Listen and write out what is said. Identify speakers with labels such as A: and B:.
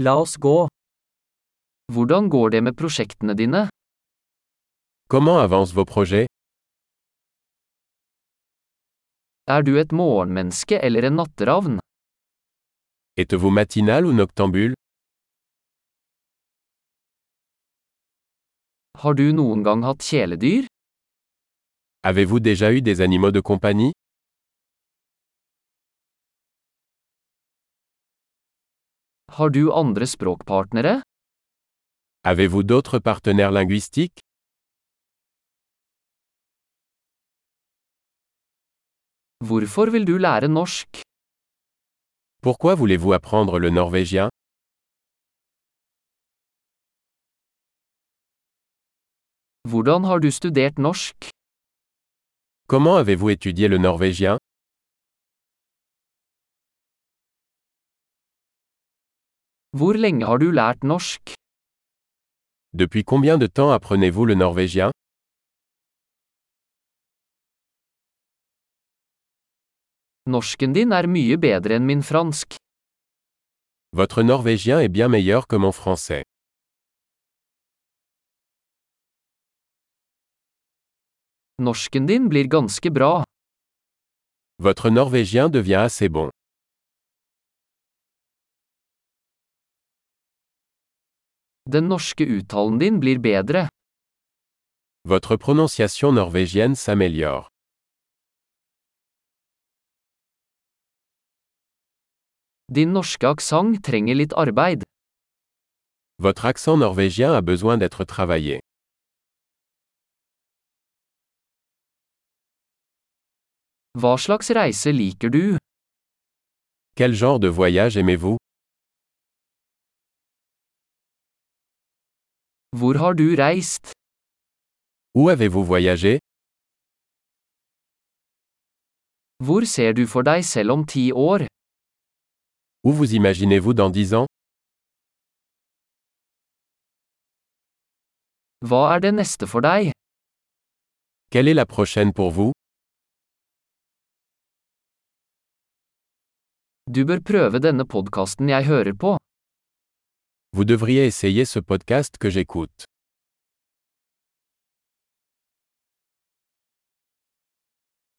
A: La oss gå. Hvordan går det med prosjektene dine?
B: Comment avancent vos projets
A: Er du et morgenmenneske eller en natteravn?
B: Êtes-vous matinal ou noctambule
A: Har du noen gang hatt kjæledyr?
B: Avez-vous déjà eu des animaux de compagnie
A: Har du andre språkpartnere?
B: Avez-vous d'autres partenaires linguistiques
A: Hvorfor vil du lære norsk?
B: Pourquoi voulez-vous apprendre le norvégien
A: Hvordan har du studert norsk?
B: Comment avez-vous étudié le norvégien
A: Hvor lenge har du lært norsk?
B: Depuis combien de temps apprenez-vous le norvégien
A: Norsken din er mye bedre enn min fransk.
B: Votre norvégien est bien meilleur que mon français.
A: Norsken din blir ganske bra.
B: Votre norvégien devient assez bon.
A: Den norske uttalen din blir bedre.
B: Votre prononciation norvégienne s'améliore.
A: Din norske aksent trenger litt arbeid.
B: Votre accent norvégien a besoin d'être travaillé.
A: Hva slags reise liker du?
B: Quel genre de voyage aimez-vous
A: Hvor har du reist?
B: Où avez-vous voyagé
A: Hvor ser du for deg selv om ti år?
B: Où vous imaginez-vous dans 10 ans
A: Hva er det neste for deg?
B: Quelle est la prochaine pour vous
A: Du bør prøve denne podkasten jeg hører på.
B: Vous devriez essayer ce podcast que j'écoute.